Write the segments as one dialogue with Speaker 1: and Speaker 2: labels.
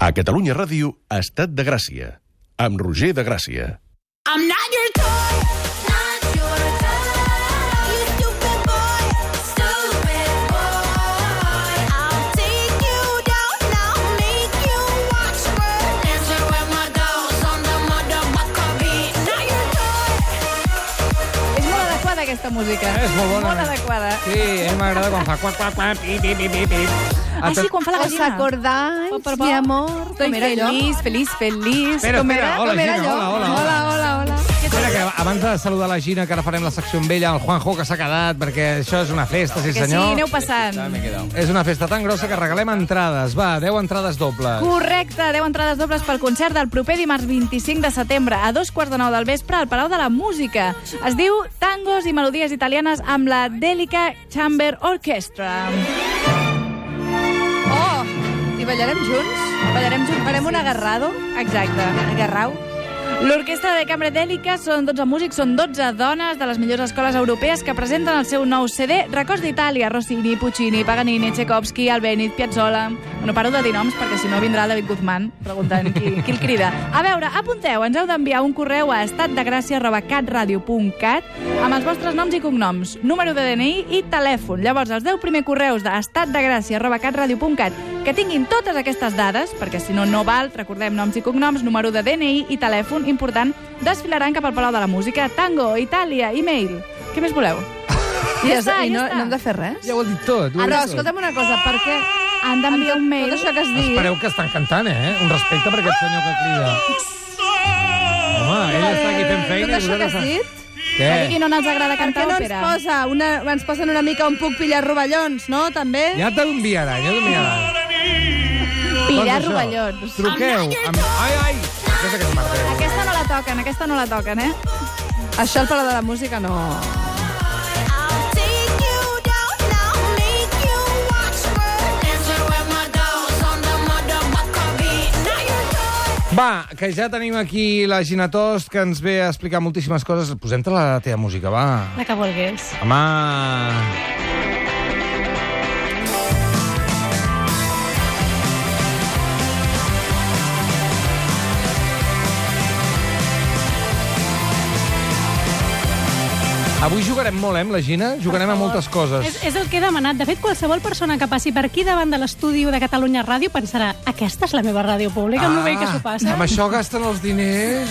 Speaker 1: A Catalunya Ràdio, Estat de Gràcia, amb Roger de Gràcia.
Speaker 2: I'm not your toy. Not your toy. You stupid boy. Stupid boy. I'll take you down. I'll make you watch me dancing with my dolls on the motherfucker beat. Not your toy.
Speaker 3: És molt adequada, aquesta música.
Speaker 4: És molt bona. eh?
Speaker 3: Molt adequada.
Speaker 4: Sí, a mi m'agrada quan fa quac, quac, quac, pi, pi, pi, pi, pi. A
Speaker 3: Així, quan fa la
Speaker 5: ¿Os
Speaker 3: gallina.
Speaker 5: acordáis,
Speaker 3: Por favor.
Speaker 5: mi amor?
Speaker 3: Estoy
Speaker 5: Com era
Speaker 3: feliz,
Speaker 5: feliç, feliç, feliç.
Speaker 4: Espera,
Speaker 5: com
Speaker 4: espera,
Speaker 5: era,
Speaker 4: hola,
Speaker 5: com era
Speaker 4: Gina,
Speaker 5: allò?
Speaker 4: hola, hola,
Speaker 5: hola,
Speaker 4: hola.
Speaker 5: hola, hola.
Speaker 4: Espera, que abans de saludar la Gina, que ara farem la secció amb ella, el Juanjo, que s'ha quedat, perquè això és una festa,
Speaker 3: Que
Speaker 4: sí
Speaker 3: sí,
Speaker 4: senyor.
Speaker 3: aneu passant.
Speaker 4: És una festa tan grossa que regalem entrades. Va, 10 entrades dobles.
Speaker 3: Correcte, 10 entrades dobles pel concert del proper dimarts 25 de setembre a dos quarts de nou del vespre al Palau de la Música. Es diu Tangos i Melodies Italianes amb la Delica Chamber Orchestra.
Speaker 5: Oh, i ballarem junts?
Speaker 3: Ballarem junts.
Speaker 5: Farem un agarrado?
Speaker 3: Exacte.
Speaker 5: Agarrau?
Speaker 3: L'orquestra de Cambra Dèlica són 12 músics, són 12 dones de les millors escoles europees que presenten el seu nou CD Records d'Itàlia, Rossini, Puccini, Paganini, Tchaikovsky, Albéniz, Piazzolla... No paro de dir noms perquè si no vindrà el David Guzmán preguntant qui, qui el crida. A veure, apunteu, ens heu d'enviar un correu a estatdegracia.catradio.cat amb els vostres noms i cognoms, número de DNI i telèfon. Llavors, els 10 primers correus d'estatdegracia.catradio.cat que tinguin totes aquestes dades, perquè si no, no val, recordem noms i cognoms, número de DNI i telèfon important, desfilaran cap al Palau de la Música, Tango, Itàlia, e-mail. Què més voleu?
Speaker 5: I,
Speaker 3: Ja
Speaker 5: és-
Speaker 3: està,
Speaker 5: i
Speaker 3: ja
Speaker 5: no,
Speaker 3: està.
Speaker 5: no hem de fer res?
Speaker 4: Ja ho he dit tot. Ho he dit
Speaker 5: Però
Speaker 4: tot.
Speaker 5: escolta'm una cosa, per què
Speaker 3: Han d'enviar un mail.
Speaker 5: tot això que has dit...
Speaker 4: Espereu que estan cantant, eh? Un respecte per aquest senyor que crida. Home, ell està aquí fent
Speaker 5: Tot
Speaker 4: feina. i
Speaker 5: això que
Speaker 4: vosaltres-
Speaker 5: has dit,
Speaker 3: Que diguin
Speaker 4: Què?
Speaker 3: on els agrada
Speaker 5: per què
Speaker 3: cantar
Speaker 5: no ens,
Speaker 3: òpera.
Speaker 5: posa una, ens posen una mica on puc pillar rovellons, no? També?
Speaker 4: Ja t'enviaran, ja t'enviaran.
Speaker 3: Pirar
Speaker 4: Doncs això,
Speaker 3: rovellons.
Speaker 4: Truqueu. Amb... Ai, ai! Aquesta que és Marteu.
Speaker 3: Aquesta no la toquen, aquesta no la toquen, eh?
Speaker 5: Això al Palau de la Música no.
Speaker 2: I'll take you down. I'll make you watch me dancing with my dolls on the motherfucker beat. Not your toy.
Speaker 4: Va, que ja tenim aquí la Gina Tost, que ens ve a explicar moltíssimes coses. Posem-te la teva música, va. La que vulguis. Home... Avui jugarem molt, eh, amb la Gina? Jugarem a moltes
Speaker 6: És,
Speaker 4: coses.
Speaker 6: és el que he demanat. De fet, qualsevol persona que passi per aquí davant de l'estudi de Catalunya Ràdio pensarà aquesta és la meva ràdio pública, ah, no veig que s'ho passa.
Speaker 4: Amb això gasten els diners.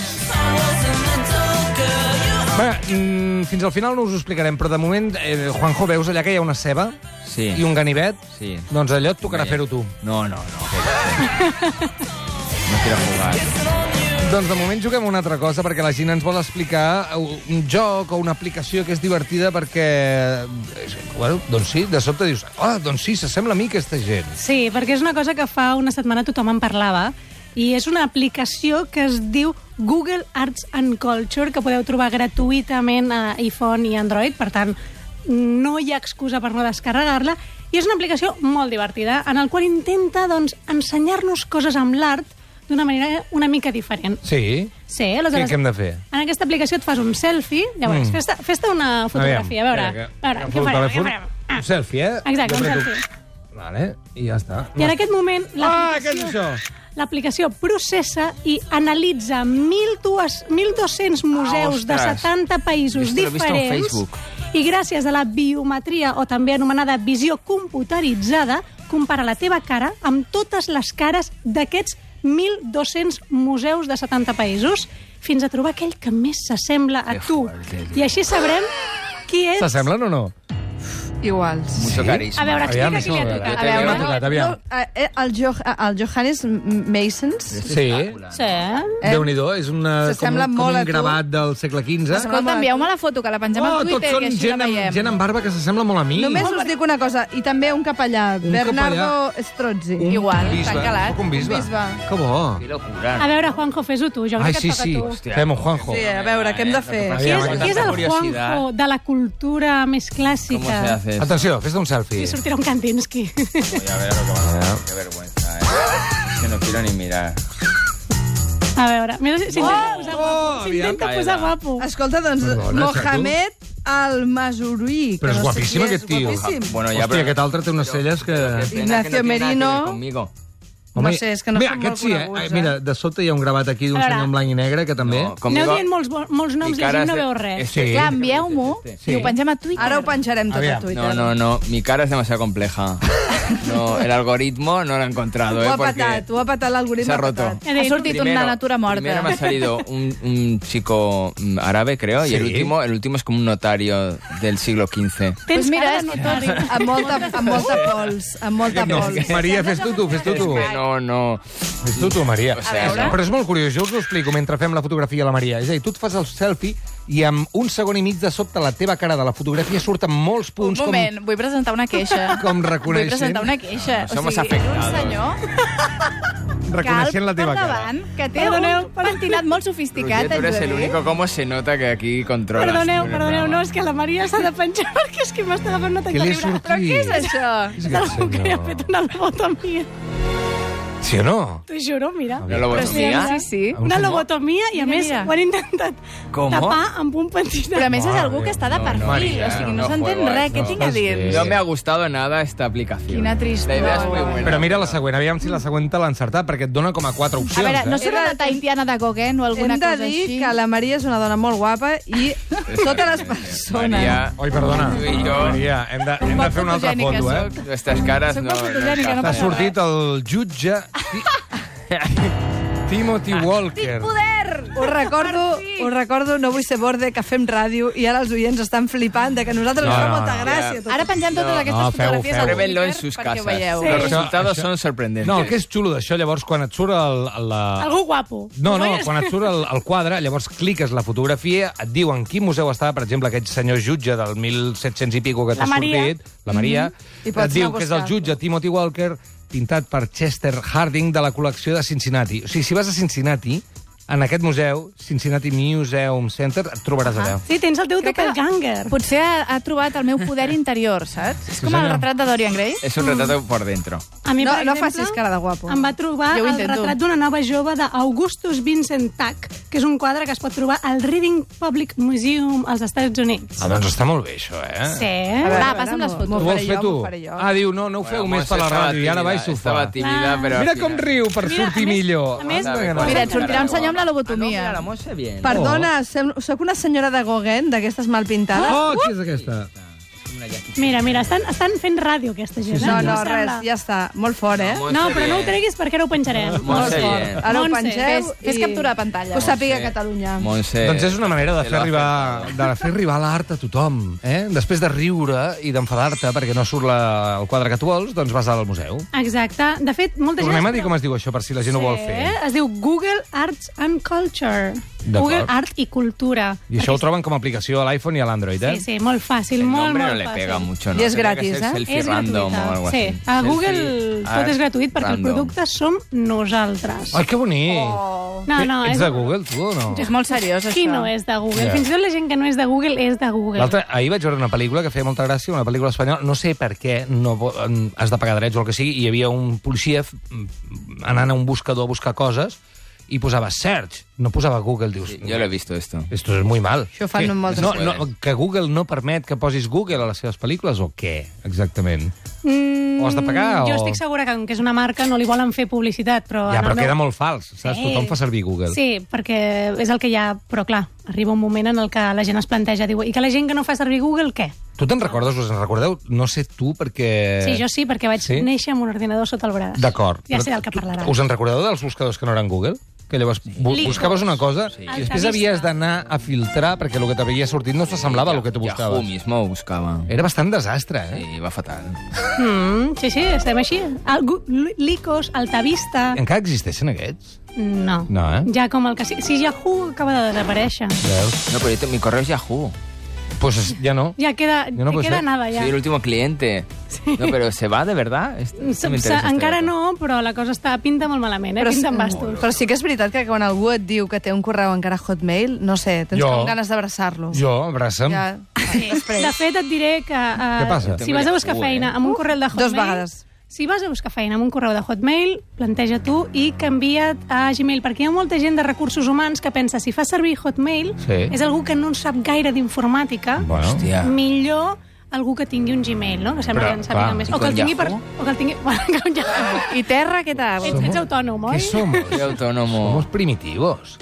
Speaker 4: Bé, mm, fins al final no us ho explicarem, però de moment, eh, Juanjo, veus allà que hi ha una ceba
Speaker 7: Sí.
Speaker 4: i un ganivet?
Speaker 7: Sí.
Speaker 4: Doncs allò et tocarà
Speaker 7: Bé.
Speaker 4: fer-ho tu.
Speaker 7: No, no, no. No quiero jugar.
Speaker 4: Doncs de moment juguem a una altra cosa, perquè la Gina ens vol explicar un joc o una aplicació que és divertida perquè... eh, Bueno, doncs sí, de sobte dius, ah, doncs sí, s'assembla a mi aquesta gent.
Speaker 6: Sí, perquè és una cosa que fa una setmana tothom en parlava i és una aplicació que es diu Google Arts and Culture que podeu trobar gratuïtament a iPhone i Android, per tant no hi ha excusa per no descarregar-la i és una aplicació molt divertida en el qual intenta doncs, ensenyar-nos coses amb l'art d'una manera una mica diferent.
Speaker 4: Sí?
Speaker 6: Sí, eh,
Speaker 4: Què,
Speaker 6: aleshores...
Speaker 4: què hem de fer?
Speaker 6: En aquesta aplicació et fas un selfie, llavors mm. fes-te fes una fotografia, a veure,
Speaker 4: espera,
Speaker 6: a veure,
Speaker 4: agafo
Speaker 6: què
Speaker 4: el
Speaker 6: farem, què
Speaker 4: telèfon.
Speaker 6: farem.
Speaker 4: Un selfie, eh? Jo
Speaker 6: Exacte, un
Speaker 4: preto-
Speaker 6: selfie.
Speaker 4: Vale, i ja està.
Speaker 6: I en aquest moment
Speaker 4: Ah, què és
Speaker 6: l'aplicació
Speaker 4: això?
Speaker 6: l'aplicació processa i analitza 1.200 museus de
Speaker 7: ostres.
Speaker 6: 70 països
Speaker 7: Esto lo he visto en
Speaker 6: diferents
Speaker 7: Facebook.
Speaker 6: i gràcies a la biometria o també anomenada visió computeritzada compara la teva cara amb totes les cares d'aquests 1.200 museus de 70 països fins a trobar aquell que més s'assembla a
Speaker 7: Que
Speaker 6: tu.
Speaker 7: fuerte, tio.
Speaker 6: I així sabrem qui ets.
Speaker 4: S'assemblen o no?
Speaker 5: Iguals.
Speaker 7: Mucho carisma.
Speaker 6: A veure,
Speaker 4: Aviam,
Speaker 6: explica qui li
Speaker 4: això,
Speaker 6: ha tocat.
Speaker 7: a veure.
Speaker 4: M'ha tocat, aviam.
Speaker 5: No, eh, el, jo, el Johannes Masons...
Speaker 4: Sí.
Speaker 6: Sí.
Speaker 5: Eh?
Speaker 4: déu nhi és una, com,
Speaker 5: S'assembla
Speaker 4: un, com
Speaker 5: molt a
Speaker 4: un
Speaker 5: tu.
Speaker 4: gravat del segle XV.
Speaker 3: Escolta, envieu-me la foto, que la pengem
Speaker 4: Oh,
Speaker 3: al
Speaker 4: tots
Speaker 3: Twitter
Speaker 4: són
Speaker 3: i així
Speaker 4: gent
Speaker 3: la
Speaker 4: amb,
Speaker 3: veiem.
Speaker 4: gent amb barba que s'assembla molt a mi.
Speaker 5: Només us dic una cosa, i també un capellà,
Speaker 4: Un
Speaker 5: Bernardo
Speaker 4: capellà.
Speaker 5: Strozzi.
Speaker 4: Un
Speaker 3: Igual,
Speaker 4: bisbe.
Speaker 3: tan calat.
Speaker 4: Sóc Un bisbe.
Speaker 5: Un bisbe.
Speaker 4: Que bo.
Speaker 7: Qué locura.
Speaker 6: A veure, Juanjo, fes-ho tu. Jo
Speaker 4: Ai,
Speaker 6: crec que
Speaker 4: sí,
Speaker 6: et toca
Speaker 4: sí.
Speaker 6: a tu.
Speaker 4: Fem-ho, Juanjo.
Speaker 5: Sí, a veure, què hem de fer?
Speaker 4: Aviam,
Speaker 6: Qui és,
Speaker 4: aviam.
Speaker 6: qui és el
Speaker 7: Curiosidad.
Speaker 6: Juanjo de la cultura més
Speaker 7: ¿Cómo se
Speaker 6: clàssica?
Speaker 7: hace esto?
Speaker 4: Atenció, fes-te un selfie.
Speaker 6: I sortirà un Kandinsky.
Speaker 7: Voy a ver lo que va a hacer. Qué vergüenza, eh. Es que no quiero ni mirar.
Speaker 6: A veure, mira, s'intenta posar guapo.
Speaker 4: oh,
Speaker 6: S'intenta
Speaker 7: aviam,
Speaker 6: posar
Speaker 7: Aida.
Speaker 6: guapo.
Speaker 5: Escolta, doncs,
Speaker 4: Perdona,
Speaker 5: Mohamed Al-Masuri.
Speaker 4: Però és guapíssim, aquest tio.
Speaker 7: Bueno,
Speaker 4: Hòstia,
Speaker 7: pero-
Speaker 4: aquest altre té unes celles que...
Speaker 7: Qué pena que
Speaker 5: Ignacio
Speaker 7: no tiene nada que ver
Speaker 5: Merino.
Speaker 7: Conmigo.
Speaker 3: No sé, és que no
Speaker 4: mira,
Speaker 3: són molt
Speaker 4: aquests sí, eh?
Speaker 3: coneguts,
Speaker 4: Ai,
Speaker 3: eh?
Speaker 4: Mira, de sota hi ha un gravat aquí d'un
Speaker 6: A veure.
Speaker 4: senyor en blanc i negre, que també... Eh,
Speaker 7: No,
Speaker 6: Aneu
Speaker 7: digo-
Speaker 6: dient molts, bo- molts noms
Speaker 7: I
Speaker 6: i la
Speaker 7: cares
Speaker 6: gent no
Speaker 7: de-
Speaker 6: veu res.
Speaker 7: Sí.
Speaker 3: Clar, envieu-m'ho
Speaker 7: Sí.
Speaker 3: i ho pengem a Twitter.
Speaker 5: Ara ho penjarem tot a,
Speaker 4: Aviam.
Speaker 5: Twitter.
Speaker 7: No, no, no, mi cara es demasiado compleja. No, el algoritmo no lo ha encontrado,
Speaker 5: Ho
Speaker 7: ¿eh?
Speaker 5: ha
Speaker 7: Porque
Speaker 5: patat, ho ha patat l'algoritme.
Speaker 7: se ha
Speaker 5: ha
Speaker 7: roto.
Speaker 5: patat.
Speaker 3: Ha sortit una natura
Speaker 7: primero
Speaker 3: morta.
Speaker 7: me ha salido un, un chico mm, árabe, creo, y el
Speaker 4: Sí.
Speaker 7: último, el último es como un notario del siglo XV.
Speaker 3: Doncs
Speaker 6: Tens
Speaker 3: mira,
Speaker 6: cara
Speaker 3: és
Speaker 6: de
Speaker 3: que
Speaker 6: notori.
Speaker 5: Amb molta, amb molta pols, amb molta
Speaker 4: No,
Speaker 5: pols.
Speaker 4: Maria, fes tu, tu, fes tu,
Speaker 7: Es
Speaker 4: tu.
Speaker 7: que no, no.
Speaker 4: Fes tu, tu, Maria.
Speaker 7: O sea, no.
Speaker 4: Però és molt curiós, jo us ho explico mentre fem la fotografia a la Maria. És a dir, tu et fas el selfie i amb un segon i mig de sobte la teva cara de la fotografia surten molts
Speaker 3: Un
Speaker 4: punts
Speaker 3: moment,
Speaker 4: com...
Speaker 3: vull presentar una queixa.
Speaker 4: Com
Speaker 3: Vull
Speaker 4: reconeixent.
Speaker 3: presentar una queixa.
Speaker 7: No, somos
Speaker 3: o sigui, és un
Speaker 7: afectados.
Speaker 3: senyor
Speaker 4: Reconeixent la teva
Speaker 3: al
Speaker 4: cara.
Speaker 3: capdavant, que té
Speaker 6: Perdoneu,
Speaker 3: un pentinat molt sofisticat,
Speaker 7: Roger, tú
Speaker 3: en
Speaker 7: eres el
Speaker 3: Joel.
Speaker 7: único cómo se nota que aquí controlas.
Speaker 6: Perdoneu,
Speaker 7: el
Speaker 6: perdoneu, no,
Speaker 7: programa.
Speaker 6: és que la Maria s'ha de penjar perquè és que m'està agafant una
Speaker 4: Què
Speaker 6: tacta
Speaker 4: li ha
Speaker 6: lliure.
Speaker 4: sortit?
Speaker 3: Però què és això?
Speaker 4: És
Speaker 6: És algú
Speaker 4: aquest
Speaker 6: que li ha
Speaker 4: senyor.
Speaker 6: fet una lobotomia.
Speaker 4: Sí o no?
Speaker 6: T'ho juro, mira.
Speaker 7: La
Speaker 3: Però sí,
Speaker 7: lobotomía.
Speaker 3: sí, sí.
Speaker 6: Una lobotomia i, a
Speaker 3: Mira,
Speaker 6: més,
Speaker 3: mira.
Speaker 6: ho han intentat
Speaker 7: Com?
Speaker 6: tapar amb un pentinat.
Speaker 3: Però a més és
Speaker 4: Mare
Speaker 3: algú que està de
Speaker 7: no,
Speaker 3: perfil,
Speaker 7: Maria,
Speaker 3: o sigui,
Speaker 7: no
Speaker 3: no s'entén
Speaker 7: juego a
Speaker 3: res, què
Speaker 7: esto.
Speaker 3: tinc a dir?
Speaker 7: No me ha gustado nada esta aplicación.
Speaker 3: Quina
Speaker 7: La idea es
Speaker 3: tristor.
Speaker 7: muy buena.
Speaker 4: Però mira la següent, aviam si la següent te l'ha encertat, perquè et dona com a quatre
Speaker 3: A
Speaker 4: opcions.
Speaker 3: veure, no
Speaker 4: eh?
Speaker 3: serà la Taitiana de Gauguin o alguna
Speaker 5: Hem de
Speaker 3: cosa
Speaker 5: dir
Speaker 3: així?
Speaker 5: que la Maria és una dona molt guapa i totes les persones...
Speaker 7: María,
Speaker 4: Oi, perdona.
Speaker 7: Tu i jo.
Speaker 4: Maria, hem de, hem de fer un altre
Speaker 3: fotogènica
Speaker 4: fondo, eh?
Speaker 3: sóc.
Speaker 7: nuestras caras
Speaker 3: Soc
Speaker 7: no.
Speaker 3: molt fotogènica, no
Speaker 4: T'ha
Speaker 3: passa
Speaker 4: sortit el jutge Ti- Timothy Walker.
Speaker 5: Us recordo, us recordo, no vull ser borde, que fem ràdio i ara els oients estan flipant de que a nosaltres
Speaker 4: No,
Speaker 5: ens fa
Speaker 4: no,
Speaker 5: molta
Speaker 4: no.
Speaker 5: gràcia. tot
Speaker 3: Ara pengem totes
Speaker 7: No,
Speaker 3: aquestes
Speaker 4: no, feu-ho,
Speaker 3: fotografies
Speaker 4: feu-ho.
Speaker 3: al
Speaker 7: Pruébenlo en
Speaker 3: Twitter
Speaker 7: sus
Speaker 3: perquè ho
Speaker 7: casas.
Speaker 3: veieu.
Speaker 7: Los
Speaker 6: Sí.
Speaker 7: resultados son sorprendentes.
Speaker 4: No, el que és xulo d'això, llavors, quan et surt el, la...
Speaker 6: Algú guapo.
Speaker 4: No, no,
Speaker 6: Veus?
Speaker 4: quan et surt el, el quadre, llavors cliques la fotografia, et diu en quin museu estava, per exemple, aquest senyor jutge del 1700 i pico que t'ha
Speaker 6: La Maria.
Speaker 4: sortit, la Maria, mm
Speaker 5: I
Speaker 4: -hmm. et
Speaker 5: pots
Speaker 4: diu
Speaker 5: anar a
Speaker 4: que és el
Speaker 5: buscar-lo.
Speaker 4: jutge Timothy Walker pintat per Chester Harding de la col·lecció de Cincinnati. O sigui, si vas a Cincinnati, en aquest museu, Cincinnati Museum Center, et trobaràs allà.
Speaker 6: Sí, tens el teu
Speaker 3: Crec que-
Speaker 6: doppelganger.
Speaker 3: Potser ha, ha trobat el meu poder interior, saps? És com el
Speaker 4: senyor.
Speaker 3: retrat de Dorian Gray.
Speaker 4: Eh,
Speaker 7: Es un retrato por dentro.
Speaker 6: A mi,
Speaker 5: No,
Speaker 6: per
Speaker 5: no
Speaker 6: exemple,
Speaker 5: facis cara de guapo.
Speaker 6: Em va trobar
Speaker 3: Jo ho
Speaker 6: el
Speaker 3: intento.
Speaker 6: retrat d'una nova jove d'Augustus Vincent Tuck, que és un quadre que es pot trobar al Reading Public Museum als Estats Units.
Speaker 4: Ah, doncs està molt bé, això, eh?
Speaker 6: Sí.
Speaker 3: Va,
Speaker 5: veure, a
Speaker 3: passa'm les
Speaker 5: veure, m'ho-
Speaker 4: Ho
Speaker 3: fotos.
Speaker 5: m'ho
Speaker 4: vols
Speaker 5: faré
Speaker 4: fer
Speaker 5: jo,
Speaker 4: tu?
Speaker 5: m'ho faré jo.
Speaker 4: Ah, diu, no, no ho feu
Speaker 7: Bueno,
Speaker 4: més per la
Speaker 7: estaba
Speaker 4: ràdio, i ara
Speaker 7: tímida,
Speaker 4: vaig s'ho fa.
Speaker 7: Estaba tímida,
Speaker 3: Ah.
Speaker 6: Clar.
Speaker 7: pero al
Speaker 4: Mira com
Speaker 7: final-
Speaker 4: riu per
Speaker 6: Mira,
Speaker 4: sortir
Speaker 6: a més-
Speaker 4: millor.
Speaker 6: a més-
Speaker 4: Anda, que no.
Speaker 3: Mira, et sortirà un senyor amb la lobotomia.
Speaker 7: Ah, no, mira, la Montse bien.
Speaker 5: Perdona, sem- sóc una senyora de Gauguin, d'aquestes mal pintades.
Speaker 4: Oh, qui és aquesta?
Speaker 6: Mira, mira, estan, estan fent ràdio, aquesta gent. eh?
Speaker 5: No, no,
Speaker 6: Em sembla.
Speaker 5: res, ja està. Molt fort, eh?
Speaker 6: No, però no ho treguis perquè ara ho penjarem.
Speaker 5: Molt
Speaker 7: Montse
Speaker 5: fort.
Speaker 7: bien.
Speaker 5: Ara ho
Speaker 6: Montse,
Speaker 5: pengeu
Speaker 3: fes- fes captura de pantalla.
Speaker 5: Que ho sàpiga
Speaker 7: Montse.
Speaker 5: Catalunya.
Speaker 7: Montse.
Speaker 4: Doncs és una manera de
Speaker 7: te
Speaker 4: fer
Speaker 7: lo
Speaker 4: arribar, de fer arribar l'art a tothom. Eh? Després de riure i d'enfadar-te perquè no surt la, el quadre que tu vols, doncs vas al museu.
Speaker 6: Exacte. De fet, molta gent...
Speaker 4: Tornem a dir com es diu això, per si la gent ho vol fer.
Speaker 6: Es diu Google Arts and Culture.
Speaker 4: D'acord.
Speaker 6: Google Art i Cultura.
Speaker 4: I això ho troben com a aplicació a l'iPhone i a l'Android, eh?
Speaker 6: Sí, sí, molt fàcil,
Speaker 7: El
Speaker 6: molt,
Speaker 7: nombre
Speaker 6: molt
Speaker 7: no le
Speaker 6: fàcil.
Speaker 7: pega mucho, ¿no?
Speaker 5: Y es
Speaker 7: Tendría
Speaker 5: gratis,
Speaker 7: que ser
Speaker 5: ¿eh?
Speaker 7: Selfie random o algo
Speaker 6: sí.
Speaker 7: así.
Speaker 6: A
Speaker 7: Selfie
Speaker 6: Google tot
Speaker 7: art
Speaker 6: és gratuït perquè el
Speaker 7: random.
Speaker 6: producte som nosaltres.
Speaker 4: Ah, Ai, que bonic!
Speaker 6: Oh. No, no,
Speaker 4: Ets
Speaker 6: és...
Speaker 4: de Google, tu, o no?
Speaker 3: És molt seriós, això.
Speaker 6: Qui no és de Google?
Speaker 4: Ja.
Speaker 6: Fins i tot la gent que no és de Google és de Google.
Speaker 4: L'altre, ahir vaig veure una pel·lícula que feia molta gràcia, una pel·lícula espanyola, no sé per què no vo- en- has de pagar drets o el que sigui, i hi havia un policia f- mm, anant a un buscador a buscar coses i posava search, no posava Google, dius...
Speaker 7: Yo lo he visto esto.
Speaker 4: Esto es muy mal.
Speaker 5: Això ho fan
Speaker 4: Què?
Speaker 5: en moltes
Speaker 4: no, no,
Speaker 7: pel·lícules.
Speaker 4: que Google no permet que posis Google a les seves pel·lícules o què, exactament? Mm, o has de pagar?
Speaker 6: Jo
Speaker 4: o...
Speaker 6: estic segura que, com que és una marca, no li volen fer publicitat, però...
Speaker 4: Ja,
Speaker 6: en
Speaker 4: però
Speaker 6: el meu-
Speaker 4: queda molt fals, saps?
Speaker 6: Oh, Sí.
Speaker 4: Tothom fa servir Google.
Speaker 6: Sí, perquè és el que hi ha, però clar, arriba un moment en el que la gent es planteja, diu, i que la gent que no fa servir Google, què?
Speaker 4: Tu te'n recordes, us en recordeu? No sé tu, perquè...
Speaker 6: Sí, jo sí, perquè vaig
Speaker 4: Eh, sí?
Speaker 6: néixer amb un ordinador sota el braç.
Speaker 4: D'acord.
Speaker 6: Ja
Speaker 4: Però
Speaker 6: sé del que
Speaker 4: tu-
Speaker 6: parlaràs.
Speaker 4: Us en recordeu dels buscadors que no eren Google? Que llavors bu
Speaker 6: Lico.
Speaker 4: buscaves una cosa sí. i després
Speaker 6: Altavista.
Speaker 4: havies d'anar a filtrar perquè el que t'havia sortit no s'assemblava al que tu
Speaker 7: Yahoo
Speaker 4: buscaves.
Speaker 7: mismo buscaba.
Speaker 4: Era bastant desastre, eh?
Speaker 7: Sí, va fatal.
Speaker 6: Mm, sí, sí, estem així. El, Gu- Li- Licos, Altavista...
Speaker 4: Encara existeixen aquests?
Speaker 6: No.
Speaker 4: No, eh?
Speaker 6: Ja com el que... Si, si Yahoo acaba de desaparèixer.
Speaker 4: Veus?
Speaker 7: No, pero yo te- mi correo es Yahoo.
Speaker 4: Pues ja no.
Speaker 6: Ja queda,
Speaker 4: Jo no
Speaker 6: no
Speaker 4: puc
Speaker 6: queda
Speaker 4: ser.
Speaker 6: nada, ja.
Speaker 7: Soy el último cliente. No, pero ¿se va de verdad? Esto- esto me
Speaker 6: Se, se,
Speaker 7: interesa este
Speaker 6: encara
Speaker 7: dato.
Speaker 6: no, però la cosa està pinta molt malament, eh?
Speaker 5: Però,
Speaker 6: Però
Speaker 5: sí,
Speaker 6: pinta amb bastos.
Speaker 5: però sí que és veritat que quan algú et diu que té un correu encara Hotmail, no sé, tens
Speaker 4: Jo.
Speaker 5: com ganes d'abraçar-lo.
Speaker 4: Jo, abraça'm.
Speaker 5: Ja. Després.
Speaker 6: De fet, et diré que...
Speaker 4: Què passa?
Speaker 6: Uh, si vas a buscar
Speaker 7: Ui, eh?
Speaker 6: feina amb un correu de Hotmail...
Speaker 5: Dos vegades.
Speaker 6: Si vas a buscar feina amb un correu de Hotmail, planteja tu i canvia't a Gmail, perquè hi ha molta gent de recursos humans que pensa si fa servir Hotmail,
Speaker 4: Sí.
Speaker 6: és algú que no en sap gaire d'informàtica,
Speaker 4: Bueno.
Speaker 7: Hòstia.
Speaker 6: millor algú que tingui un Gmail, no? Que sembla
Speaker 4: Però,
Speaker 6: que en sàpiga
Speaker 4: clar,
Speaker 6: més.
Speaker 4: i
Speaker 6: O que el
Speaker 4: con
Speaker 6: tingui per...
Speaker 4: Yahoo?
Speaker 6: O que el tingui... Bueno, que un Yahoo.
Speaker 3: I terra, què tal?
Speaker 6: Ets, ets autònom, oi?
Speaker 4: ¿Qué somos?
Speaker 7: Soy autónomo.
Speaker 4: Somos primitivos.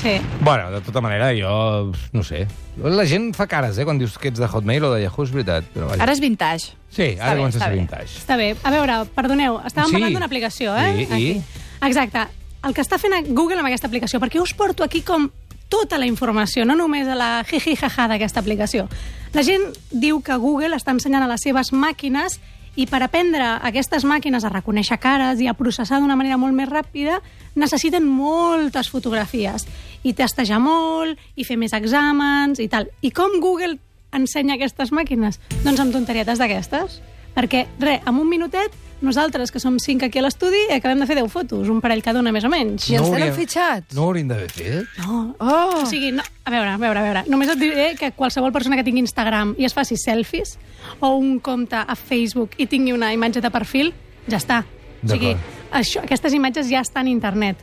Speaker 6: Sí.
Speaker 4: Bueno, de tota manera, jo no sé. La gent fa cares, eh, quan dius que ets de Hotmail o de Yahoo, és veritat. Però vaja.
Speaker 3: Ara és vintage.
Speaker 4: Sí,
Speaker 3: Està
Speaker 4: ara
Speaker 3: bé,
Speaker 4: comença a
Speaker 3: està
Speaker 4: ser
Speaker 3: bé.
Speaker 4: vintage.
Speaker 6: Està bé. A veure, perdoneu, estàvem
Speaker 4: Sí.
Speaker 6: parlant d'una aplicació, eh?
Speaker 4: I- i?
Speaker 6: Exacte. El que està fent Google amb aquesta aplicació, perquè us porto aquí com tota la informació, no només a la jiji jaja d'aquesta aplicació. La gent diu que Google està ensenyant a les seves màquines i per aprendre aquestes màquines a reconèixer cares i a processar d'una manera molt més ràpida necessiten moltes fotografies i testejar molt i fer més exàmens i tal. I com Google ensenya aquestes màquines? Doncs amb tonterietes d'aquestes. Perquè, re, en un minutet, nosaltres, que som cinc aquí a l'estudi, acabem de fer 10 fotos, un parell cada una més o menys.
Speaker 5: I ens
Speaker 4: hauríem-
Speaker 5: tenen fitxats?
Speaker 4: No ho hauríem d'haver fet.
Speaker 6: No,
Speaker 5: Oh!
Speaker 6: o sigui, no, a veure, a veure, a veure. Només et diré que qualsevol persona que tingui Instagram i es faci selfies o un compte a Facebook i tingui una imatge de perfil, ja està. O sigui, això, aquestes imatges ja estan a internet.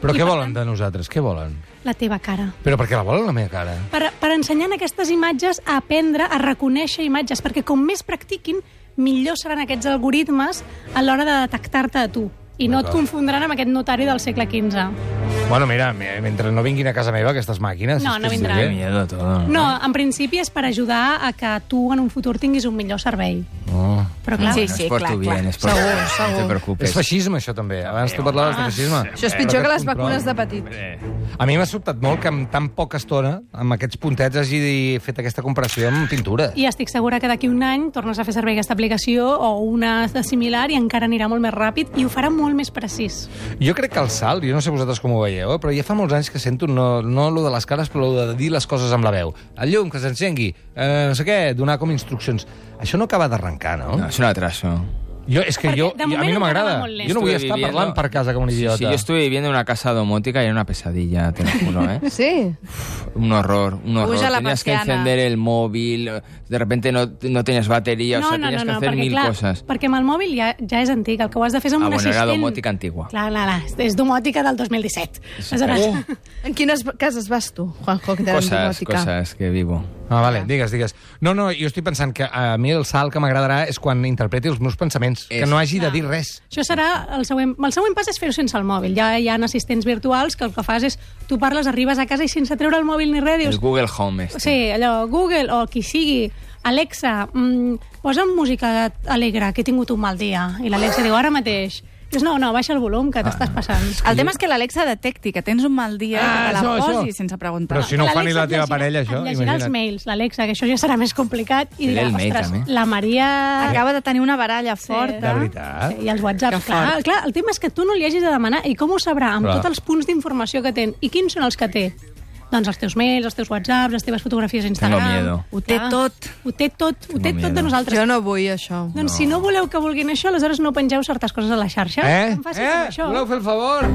Speaker 4: Però
Speaker 6: I
Speaker 4: què
Speaker 6: per
Speaker 4: volen de nosaltres? Què volen?
Speaker 6: La teva cara.
Speaker 4: Però per què la volen, la meva cara?
Speaker 6: Per, per ensenyar en aquestes imatges a aprendre a reconèixer imatges, perquè com més practiquin, millor seran aquests algoritmes a l'hora de detectar-te a tu. I no et
Speaker 4: D'acord.
Speaker 6: confondran amb aquest notari del segle XV.
Speaker 7: Mhm.
Speaker 4: Bueno, mira, me- mentre no vinguin a casa meva aquestes màquines...
Speaker 6: No,
Speaker 4: és que
Speaker 6: no
Speaker 4: és
Speaker 6: vindran.
Speaker 7: Qué
Speaker 4: diferent.
Speaker 7: miedo todo.
Speaker 6: No, en principi és per ajudar a que tu en un futur tinguis un millor servei.
Speaker 4: Oh.
Speaker 6: Però clar,
Speaker 3: Sí,
Speaker 6: sí.
Speaker 7: Bueno,
Speaker 3: sí,
Speaker 7: es por
Speaker 3: clar,
Speaker 7: tu
Speaker 3: clar.
Speaker 7: bien, es por tu
Speaker 5: Segur,
Speaker 7: bien, no
Speaker 5: segur.
Speaker 7: te
Speaker 4: És
Speaker 7: preocupes.
Speaker 4: eh, feixisme, això, també. Abans tu parlaves de feixisme.
Speaker 5: Això és pitjor que les vacunes de petit.
Speaker 4: A mi m'ha sobtat molt que amb tan poca estona, amb aquests puntets, hagi fet aquesta comparació amb pintura.
Speaker 6: i estic segura que d'aquí un any tornes a fer servir aquesta aplicació o una de similar i encara anirà molt més ràpid i ho farà molt més precís.
Speaker 4: Jo crec que el salt, jo no sé vosaltres com ho veieu, eh, però ja fa molts anys que sento no, no lo de les cares, però lo de dir les coses amb la veu. El llum, que s'encengui, eh, no sé què, donar com instruccions. Això no acaba d'arrencar, no?
Speaker 7: No, es un atraso.
Speaker 4: Jo, és que
Speaker 6: Perquè
Speaker 4: jo,
Speaker 6: de
Speaker 4: a mi
Speaker 6: moment
Speaker 4: no
Speaker 6: encara
Speaker 4: m'agrada.
Speaker 6: va molt lent.
Speaker 4: Jo no vull
Speaker 7: Estuve
Speaker 4: estar
Speaker 7: viviendo-
Speaker 4: parlant per casa com un idiota.
Speaker 7: Sí, sí, yo estuve viviendo en una casa domótica y era una pesadilla, te lo juro, ¿eh?
Speaker 5: Sí.
Speaker 7: Un horror, un horror.
Speaker 3: Usa la
Speaker 7: tenías que
Speaker 3: persiana.
Speaker 7: encender el móvil, de repente no, no tenías batería, o sea, tenías que hacer
Speaker 6: perquè,
Speaker 7: mil cosas.
Speaker 6: perquè amb el mòbil ja, ja és antic. El que ho has de fer és amb
Speaker 7: Ah,
Speaker 6: un
Speaker 7: bueno, era
Speaker 6: assistent...
Speaker 7: domòtica antigua.
Speaker 6: Clar, clar, clar, és domòtica del 2017. Aleshores,
Speaker 5: En quines cases vas tu, Juanjo, que t'agrada
Speaker 7: Cosas,
Speaker 5: domòtica?
Speaker 7: cosas que vivo.
Speaker 4: Ah, vale, digues, digues. No, no, jo estic pensant que a mi el salt que m'agradarà és quan interpreti els meus pensaments, que
Speaker 7: És-
Speaker 4: no hagi de dir res.
Speaker 6: Això serà el següent... El següent pas és fer-ho sense el mòbil. Ja hi ha assistents virtuals que el que fas és... Tu parles, arribes a casa i sense treure el mòbil ni res
Speaker 7: El
Speaker 6: dius...
Speaker 7: Google Home este.
Speaker 6: Sí, allò, Google o qui sigui, Alexa, mm, posa'm música alegre, que he tingut un mal dia. I l'Alexa diu, ara mateix. Dius, no, no, baixa el volum, que t'estàs passant.
Speaker 3: El tema és que l'Alexa detecti que tens un mal dia i
Speaker 4: Ah,
Speaker 3: que te la
Speaker 4: això, això.
Speaker 3: posi sense preguntar.
Speaker 4: Però si no ho fa ni la
Speaker 6: L'Alexa et
Speaker 4: teva
Speaker 6: llegirà-
Speaker 4: parella, això,
Speaker 6: Et llegirà els
Speaker 4: imagina't.
Speaker 6: mails, l'Alexa, que això ja serà més complicat. I
Speaker 7: Llegirà
Speaker 6: dirà,
Speaker 7: el mail,
Speaker 6: ostres,
Speaker 7: també."
Speaker 6: la Maria...
Speaker 3: Acaba de tenir una baralla forta.
Speaker 4: De veritat.
Speaker 6: Sí, I els
Speaker 3: Que
Speaker 6: whatsapps, clar,
Speaker 3: fort.
Speaker 6: clar. El tema és que tu no li hagis de demanar. I com ho sabrà? Amb
Speaker 4: Clar.
Speaker 6: tots els punts d'informació que té. I quins són els que té? Doncs els teus mails, els teus whatsapps, les teves fotografies a Instagram...
Speaker 7: miedo.
Speaker 3: Ho té
Speaker 6: Clar.
Speaker 3: tot.
Speaker 6: Ho té tot, ho té
Speaker 7: Tengo
Speaker 6: tot de
Speaker 7: miedo.
Speaker 6: nosaltres.
Speaker 5: Jo no vull això.
Speaker 6: Doncs si no voleu que vulguin això, aleshores no pengeu certes coses a la xarxa.
Speaker 4: Eh?
Speaker 6: Tan fàcil com
Speaker 4: Eh?
Speaker 6: això.
Speaker 4: Voleu fer el favor?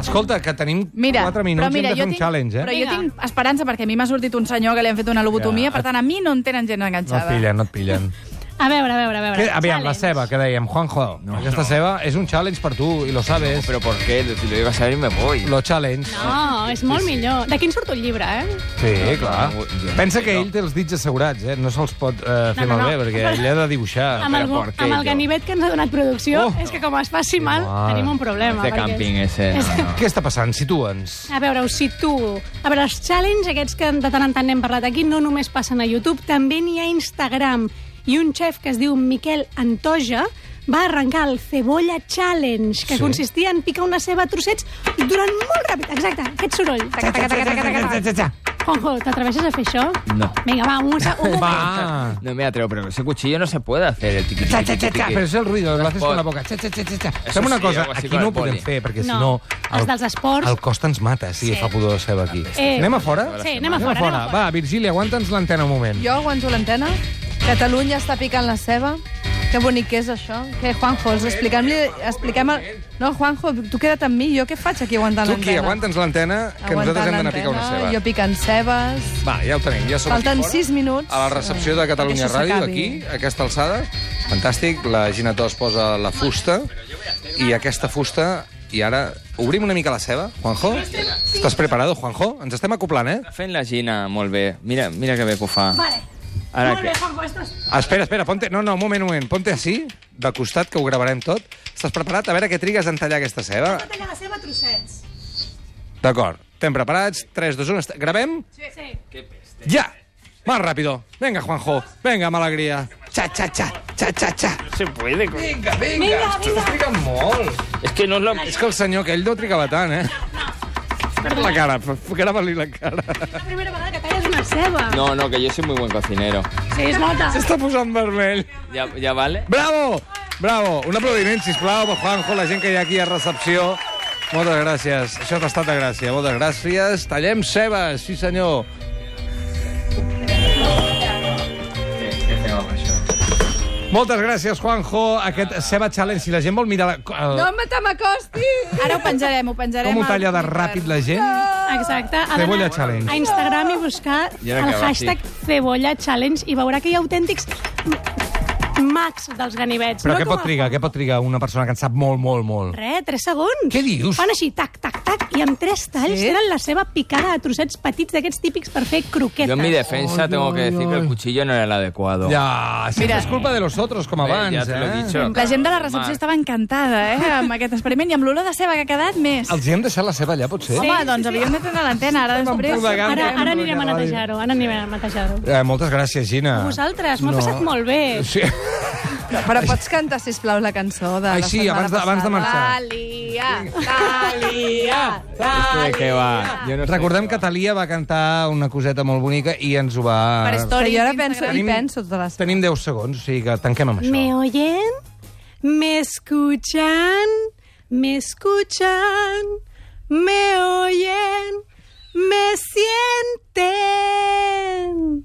Speaker 4: Escolta, que tenim
Speaker 3: Mira,
Speaker 4: 4 minuts
Speaker 3: però mira, jo
Speaker 4: i hem de fer un
Speaker 3: tinc,
Speaker 4: challenge, eh?
Speaker 3: Però
Speaker 6: Vinga.
Speaker 3: jo tinc esperança perquè a mi m'ha sortit un senyor que li han fet una lobotomia,
Speaker 4: Ja.
Speaker 3: per tant, a mi no en tenen gent
Speaker 4: No et
Speaker 3: enganxada.
Speaker 4: pillen, no et pillen.
Speaker 6: A veure, a veure, a veure.
Speaker 4: Que, aviam, la
Speaker 6: Challenge.
Speaker 4: ceba, que dèiem, Juanjo, no, aquesta no. ceba és un challenge per tu, i lo sabes.
Speaker 7: Pero ¿por qué? Si lo iba a saber me voy.
Speaker 4: Lo challenge.
Speaker 6: No, és molt millor. De quin surt el llibre, eh?
Speaker 4: Sí,
Speaker 7: No,
Speaker 4: clar.
Speaker 7: no, no, no.
Speaker 4: Pensa que ell té els dits assegurats, eh? No se'ls pot eh, fer
Speaker 6: No, no, no.
Speaker 4: malbé, perquè ell ha de dibuixar.
Speaker 6: Amb el,
Speaker 7: però per què
Speaker 6: amb el
Speaker 7: jo?
Speaker 6: ganivet que ens ha donat producció,
Speaker 4: Oh.
Speaker 6: és que com es faci mal,
Speaker 4: mare.
Speaker 6: tenim un problema.
Speaker 7: Este
Speaker 6: perquè-
Speaker 7: camping ese. no, no.
Speaker 4: Què està passant? Situa'ns.
Speaker 6: A veure, us situo. A veure, els challenge aquests que de tant en tant n'hem parlat aquí no només passen a YouTube, també n'hi ha a Instagram. I un xef que es diu Miquel Antoja va arrencar el Cebolla Challenge,
Speaker 4: Sí.
Speaker 6: que sí. consistia en picar una ceba a trossets durant molt ràpid. Exacte, aquest soroll. Taca, taca, taca, taca, taca, taca. Juanjo, t'atreveixes a fer això?
Speaker 7: No.
Speaker 6: Vinga, va, un, un moment.
Speaker 4: Va.
Speaker 7: No me atrevo, pero ese cuchillo no se puede hacer el tiqui, tiqui,
Speaker 4: Cha, cha, cha,
Speaker 7: tiqui,
Speaker 4: cha.
Speaker 7: tiqui.
Speaker 4: Però és el ruido, l'haces
Speaker 7: pot.
Speaker 4: con la boca. Cha, cha, cha, cha, cha.
Speaker 7: Eso
Speaker 4: Fem una
Speaker 7: sí,
Speaker 4: cosa,
Speaker 7: algo así
Speaker 4: aquí
Speaker 7: con
Speaker 4: no ho
Speaker 7: el poli.
Speaker 4: podem fer, perquè si
Speaker 6: No.
Speaker 4: no...
Speaker 6: Els dels esports.
Speaker 4: El cost ens mata, si sí. fa pudor de ceba aquí.
Speaker 6: Eh.
Speaker 4: Anem a fora?
Speaker 6: Sí, anem a fora, anem a fora.
Speaker 4: Va, Virgili, aguanta'ns l'antena un moment.
Speaker 5: Jo aguanto l'antena. Catalunya està picant la ceba. Que bonic que és això. Que, Juanjo, els expliquem... expliquem el... No, Juanjo, tu queda't amb mi. Jo què faig aquí aguantant
Speaker 4: Tu
Speaker 5: l'antena?
Speaker 4: aquí, aguanta'ns l'antena, que
Speaker 5: Aguantant
Speaker 4: nosaltres hem d'anar a
Speaker 5: l'antena,
Speaker 4: picar una ceba.
Speaker 5: Jo picant cebes.
Speaker 4: Va, ja ho tenim, ja som
Speaker 5: Falten
Speaker 4: aquí fora.
Speaker 5: 6 minuts.
Speaker 4: a la recepció de Catalunya
Speaker 5: Perquè això
Speaker 4: Ràdio, aquí,
Speaker 5: s'acabi.
Speaker 4: a aquesta alçada. Fantàstic, la Gina Tos posa la fusta, i aquesta fusta, i ara obrim una mica la ceba. Juanjo, estàs preparado, Juanjo? Ens estem acoplant, eh?
Speaker 7: Fent la Gina molt bé. Mira, mira que bé que ho fa.
Speaker 6: Vale.
Speaker 7: Ara
Speaker 6: Molt
Speaker 7: que...
Speaker 6: bé, Juanjo, estàs...
Speaker 4: Ah, Espera, espera, ponte... No, no, un moment, un moment. Ponte així, del costat, que ho gravarem tot. Estàs preparat? A veure què trigues en tallar aquesta ceba.
Speaker 6: Pot tallar la seva a trossets.
Speaker 4: D'acord. Estem preparats? 3, 2, 1... est- Gravem?
Speaker 6: Sí. sí.
Speaker 4: ¡Ya! Más rápido. Venga, Juanjo. Venga, mala alegría. Cha, cha, cha. Cha, cha, cha.
Speaker 8: No se puede. con-
Speaker 4: Vinga, vinga. Vinga, vinga. Triga molt.
Speaker 8: Es que no es lo...
Speaker 4: És que el senyor aquell no trigava tant, eh? Per la cara, f- grava-li la cara.
Speaker 6: La primera vegada que talles una ceba.
Speaker 7: No, no, que yo soy muy buen cocinero.
Speaker 6: Sí, es nota.
Speaker 4: S'està posant vermell.
Speaker 7: ¿Ya, ya vale?
Speaker 4: Bravo! Bravo! Un aplaudiment, sisplau, per Juanjo, la gent que hi ha aquí a recepció. Moltes gràcies. Això t'ha estat de gràcia. Moltes gràcies. Tallem cebes, sí senyor. Moltes gràcies, Juanjo. Aquest ceba challenge, si la gent vol mirar... La, el,
Speaker 5: No me te m'acostis!
Speaker 3: Ara ho penjarem, ho penjarem.
Speaker 4: com ho
Speaker 3: al
Speaker 4: talla de
Speaker 3: Twitter.
Speaker 4: ràpid la gent.
Speaker 6: Exacte. Ha
Speaker 4: Cebolla
Speaker 6: d'anar
Speaker 4: Challenge.
Speaker 6: A Instagram i buscar
Speaker 7: I
Speaker 6: el
Speaker 7: ara acaba,
Speaker 6: hashtag Cebolla Challenge i veurà que hi ha autèntics mags dels ganivets.
Speaker 4: Però
Speaker 6: no
Speaker 4: què
Speaker 6: com
Speaker 4: pot
Speaker 6: a-
Speaker 4: trigar? Què pot trigar una persona que en sap molt, molt, molt?
Speaker 6: Res, 3 segons.
Speaker 4: Què dius?
Speaker 6: Fan així, tac, tac, tac, i amb tres talls
Speaker 5: Sí?
Speaker 6: sí? tenen la seva picada de trossets petits d'aquests típics per fer croquetes.
Speaker 7: Yo en mi defensa
Speaker 4: Ay,
Speaker 7: tengo que
Speaker 4: ay,
Speaker 7: decir que
Speaker 4: ay.
Speaker 7: el cuchillo no era el adecuado.
Speaker 4: Ja, sempre
Speaker 3: Mira.
Speaker 4: és culpa de los otros, com
Speaker 7: Eh,
Speaker 4: abans,
Speaker 7: ya te lo he
Speaker 4: eh?
Speaker 7: dicho.
Speaker 3: La gent de la recepció estava encantada, eh, amb aquest experiment i amb l'olor de ceba que ha quedat més.
Speaker 4: Els hi hem deixat la ceba allà, potser?
Speaker 3: Home, doncs havíem de treure l'antena ara després.
Speaker 4: empolvegant.
Speaker 6: Ara, ara anirem a
Speaker 4: Ràdio.
Speaker 6: netejar-ho, ara anirem a netejar-ho.
Speaker 4: Eh, moltes gràcies, Gina.
Speaker 6: Vosaltres, m'ho he passat molt bé.
Speaker 4: Sí.
Speaker 5: Però pots cantar, sisplau, la cançó de
Speaker 4: Ai,
Speaker 5: la
Speaker 4: sí,
Speaker 5: setmana
Speaker 4: abans de- abans de
Speaker 5: passada?
Speaker 4: marxar.
Speaker 3: Talia, Talia.
Speaker 7: ¿Esto de qué va? Yo no sé
Speaker 4: Recordem
Speaker 7: qué
Speaker 4: que
Speaker 7: va.
Speaker 4: Talia va cantar una coseta molt bonica i ens ho va...
Speaker 3: Per esto-
Speaker 5: Però jo ara penso, i
Speaker 4: Tenim-
Speaker 5: penso totes les...
Speaker 4: Tenim 10 segons, o sigui que tanquem amb això.
Speaker 6: ¿Me oyen? ¿Me escuchan? ¿Me escuchan? ¿Me oyen? ¿Me sienten?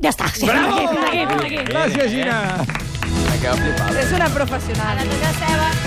Speaker 6: Ya está. Sí, por aquí, por aquí, por aquí.
Speaker 4: Gràcies, Gina.
Speaker 7: Me he quedado flipado.
Speaker 5: És una professional.
Speaker 3: La teva.